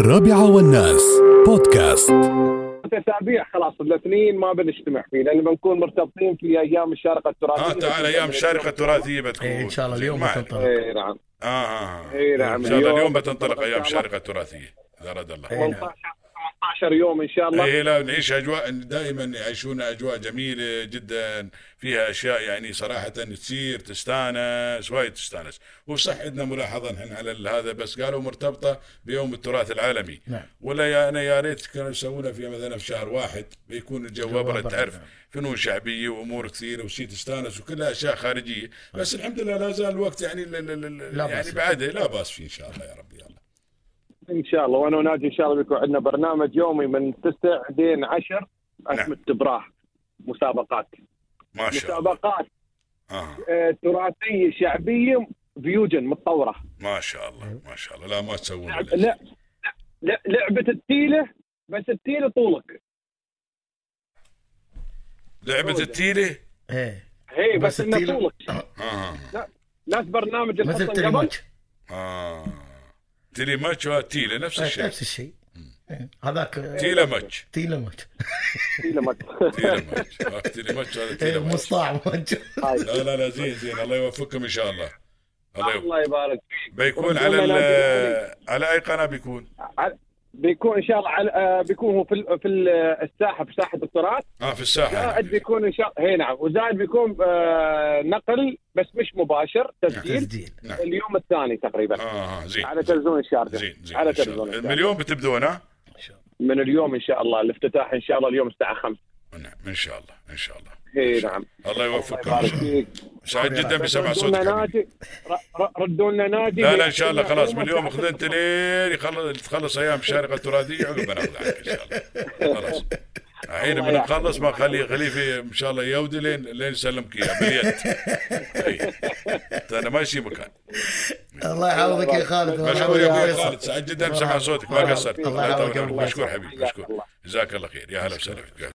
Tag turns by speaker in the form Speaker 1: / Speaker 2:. Speaker 1: الرابعة والناس بودكاست
Speaker 2: تتابيع خلاص الاثنين ما بنجتمع فيه لان بنكون مرتبطين في ايام الشارقه التراثيه
Speaker 3: اه تعال ايام الشارقه التراثيه بتكون
Speaker 4: إيه، ان شاء الله اليوم
Speaker 3: ما
Speaker 4: بتنطلق.
Speaker 3: عليك.
Speaker 2: اي إيه، نعم
Speaker 3: اه اه
Speaker 2: إيه، نعم.
Speaker 3: ان شاء الله اليوم
Speaker 2: اليوم
Speaker 3: بتنطلق ايام
Speaker 2: بتنطلق.
Speaker 3: الشارقه التراثيه اذا اراد
Speaker 4: إيه،
Speaker 3: الله
Speaker 2: 18 18 يوم ان شاء الله
Speaker 3: اي إيه، لا نعيش اجواء دائما يعيشون اجواء جميله جدا فيها اشياء يعني صراحه تصير تستانس وايد تستانس وصح عندنا ملاحظه نحن على ال- هذا بس قالوا مرتبطه بيوم التراث العالمي
Speaker 4: نعم.
Speaker 3: ولا يا انا يا ريت كانوا يسوونها في مثلا في شهر واحد بيكون الجو
Speaker 4: الجو
Speaker 3: ابرد
Speaker 4: أبرد،
Speaker 3: تعرف
Speaker 4: نعم.
Speaker 3: فنون شعبيه وامور كثيره وشي تستانس وكلها اشياء خارجيه بس الحمد لله لا زال الوقت يعني ل- ل- ل-
Speaker 4: لا
Speaker 3: يعني
Speaker 4: بأس.
Speaker 3: بعده لا باس فيه ان شاء الله يا رب يلا
Speaker 2: ان شاء الله وانا وناجي ان شاء الله بيكون عندنا برنامج يومي من 9 لين 10
Speaker 3: نعم.
Speaker 2: اسم التبراه مسابقات
Speaker 3: ما شاء الله
Speaker 2: مسابقات
Speaker 3: آه.
Speaker 2: آه، تراثيه شعبيه فيوجن متطوره
Speaker 3: ما شاء الله ما شاء الله لا ما تسوون
Speaker 4: نعم.
Speaker 2: لعب-
Speaker 3: إلا
Speaker 2: لا لا لعبه التيله بس التيله طولك
Speaker 3: لعبة التيلي
Speaker 4: ايه
Speaker 2: هي بس,
Speaker 4: بس آه،
Speaker 2: انه
Speaker 4: التيلة-
Speaker 2: طولك
Speaker 3: اه
Speaker 2: ناس برنامج
Speaker 4: مثل
Speaker 2: الخطة قبل
Speaker 4: تريماتش
Speaker 3: اه تيلي ماتش وتيلي نفس
Speaker 2: آه،
Speaker 4: إيه،
Speaker 3: الشيء
Speaker 4: نفس الشيء إيه، هذاك
Speaker 3: تيلا ماتش
Speaker 4: تيلا ماتش
Speaker 2: التيلة ما-
Speaker 3: تيلا ماتش هاك تيلي ماتش هذا تيلا
Speaker 4: إيه،
Speaker 3: ماتش
Speaker 4: مصطاع ماتش
Speaker 2: هاي.
Speaker 3: لا لا لا زين زين الله يوفقكم ان شاء الله الله يوفق.
Speaker 2: الله يبارك فيك
Speaker 3: بيكون على ال- على اي قناة بيكون؟
Speaker 2: على- بيكون ان شاء الله على آه، بيكون هو في ال- في ال- الساحه في ساحه التراث
Speaker 3: اه في الساحة
Speaker 2: زائد بيكون ان شاء الله هي نعم وزائد بيكون آه، نقل بس مش مباشر تسجيل
Speaker 4: تسجيل
Speaker 3: نعم
Speaker 2: اليوم الثاني تقريبا
Speaker 3: اه آه، زين
Speaker 2: على تلفزيون الشارقه
Speaker 3: زين زين
Speaker 2: على
Speaker 3: إن شاء الله.
Speaker 2: تلفزيون الشارقة.
Speaker 3: المليون بتبدون آه؟ ها؟
Speaker 4: إن شاء الله.
Speaker 2: من اليوم ان شاء الله الافتتاح ان شاء الله اليوم الساعه 5
Speaker 3: نعم ان شاء الله ان شاء الله
Speaker 2: اي نعم
Speaker 3: الله
Speaker 2: الله
Speaker 3: يوفقكم إن
Speaker 2: يبارك
Speaker 3: شاء الله.
Speaker 2: فيك
Speaker 3: سعيد جدا بسمع
Speaker 2: ردوا لنا
Speaker 3: صوتك
Speaker 2: نادي ر- ر- ردوا لنا نادي
Speaker 3: لا لا ان شاء الله خلاص من اليوم خذنت لين يخلص تخلص ايام الشارقه التراثيه عقب بناخذ عنك ان شاء الله خلاص الحين من نخلص ما خليه خليه في ان شاء الله يودي لين لين يسلمك اياه باليد إي. انا ماشي مكان
Speaker 4: الله يعوضك يا خالد والله
Speaker 3: مشكور يا اخوي
Speaker 4: فيصل.
Speaker 3: خالد سعيد جدا بسمع صوتك ما قصرت
Speaker 4: الله
Speaker 3: الله يطول
Speaker 4: يعوضك يا
Speaker 3: عمرك
Speaker 4: أبو
Speaker 3: مشكور
Speaker 2: فيصل.
Speaker 3: حبيبي مشكور جزاك الله خير يا هلا وسهلا فيك